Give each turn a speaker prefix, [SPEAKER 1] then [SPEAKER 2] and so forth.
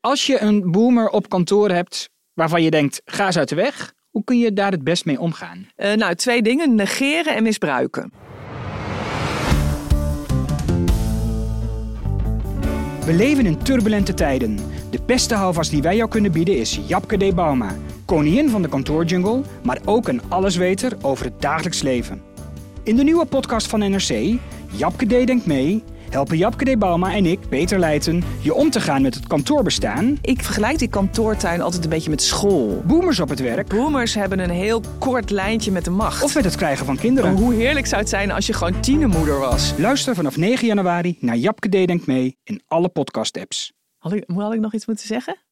[SPEAKER 1] Als je een boomer op kantoor hebt waarvan je denkt, ga eens uit de weg. Hoe kun je daar het best mee omgaan?
[SPEAKER 2] Eh, nou, twee dingen: negeren en misbruiken.
[SPEAKER 1] We leven in turbulente tijden. De beste houvast die wij jou kunnen bieden is Japke de Bauma. Koningin van de kantoorjungle, maar ook een allesweter over het dagelijks leven. In de nieuwe podcast van NRC, Japke D. Denkt Mee, helpen Japke de Bauma en ik, Peter Leijten, je om te gaan met het kantoorbestaan,
[SPEAKER 2] Ik vergelijk die kantoortuin altijd een beetje met school.
[SPEAKER 1] boomers op het werk
[SPEAKER 2] Boomers hebben een heel kort lijntje met de macht.
[SPEAKER 1] of met het krijgen van kinderen.
[SPEAKER 2] Hoe heerlijk zou het zijn als je gewoon tienermoeder was?
[SPEAKER 1] Luister vanaf 9 januari naar Japke D. Denkt Mee in alle podcast-apps.
[SPEAKER 2] Had ik, had ik nog iets moeten zeggen?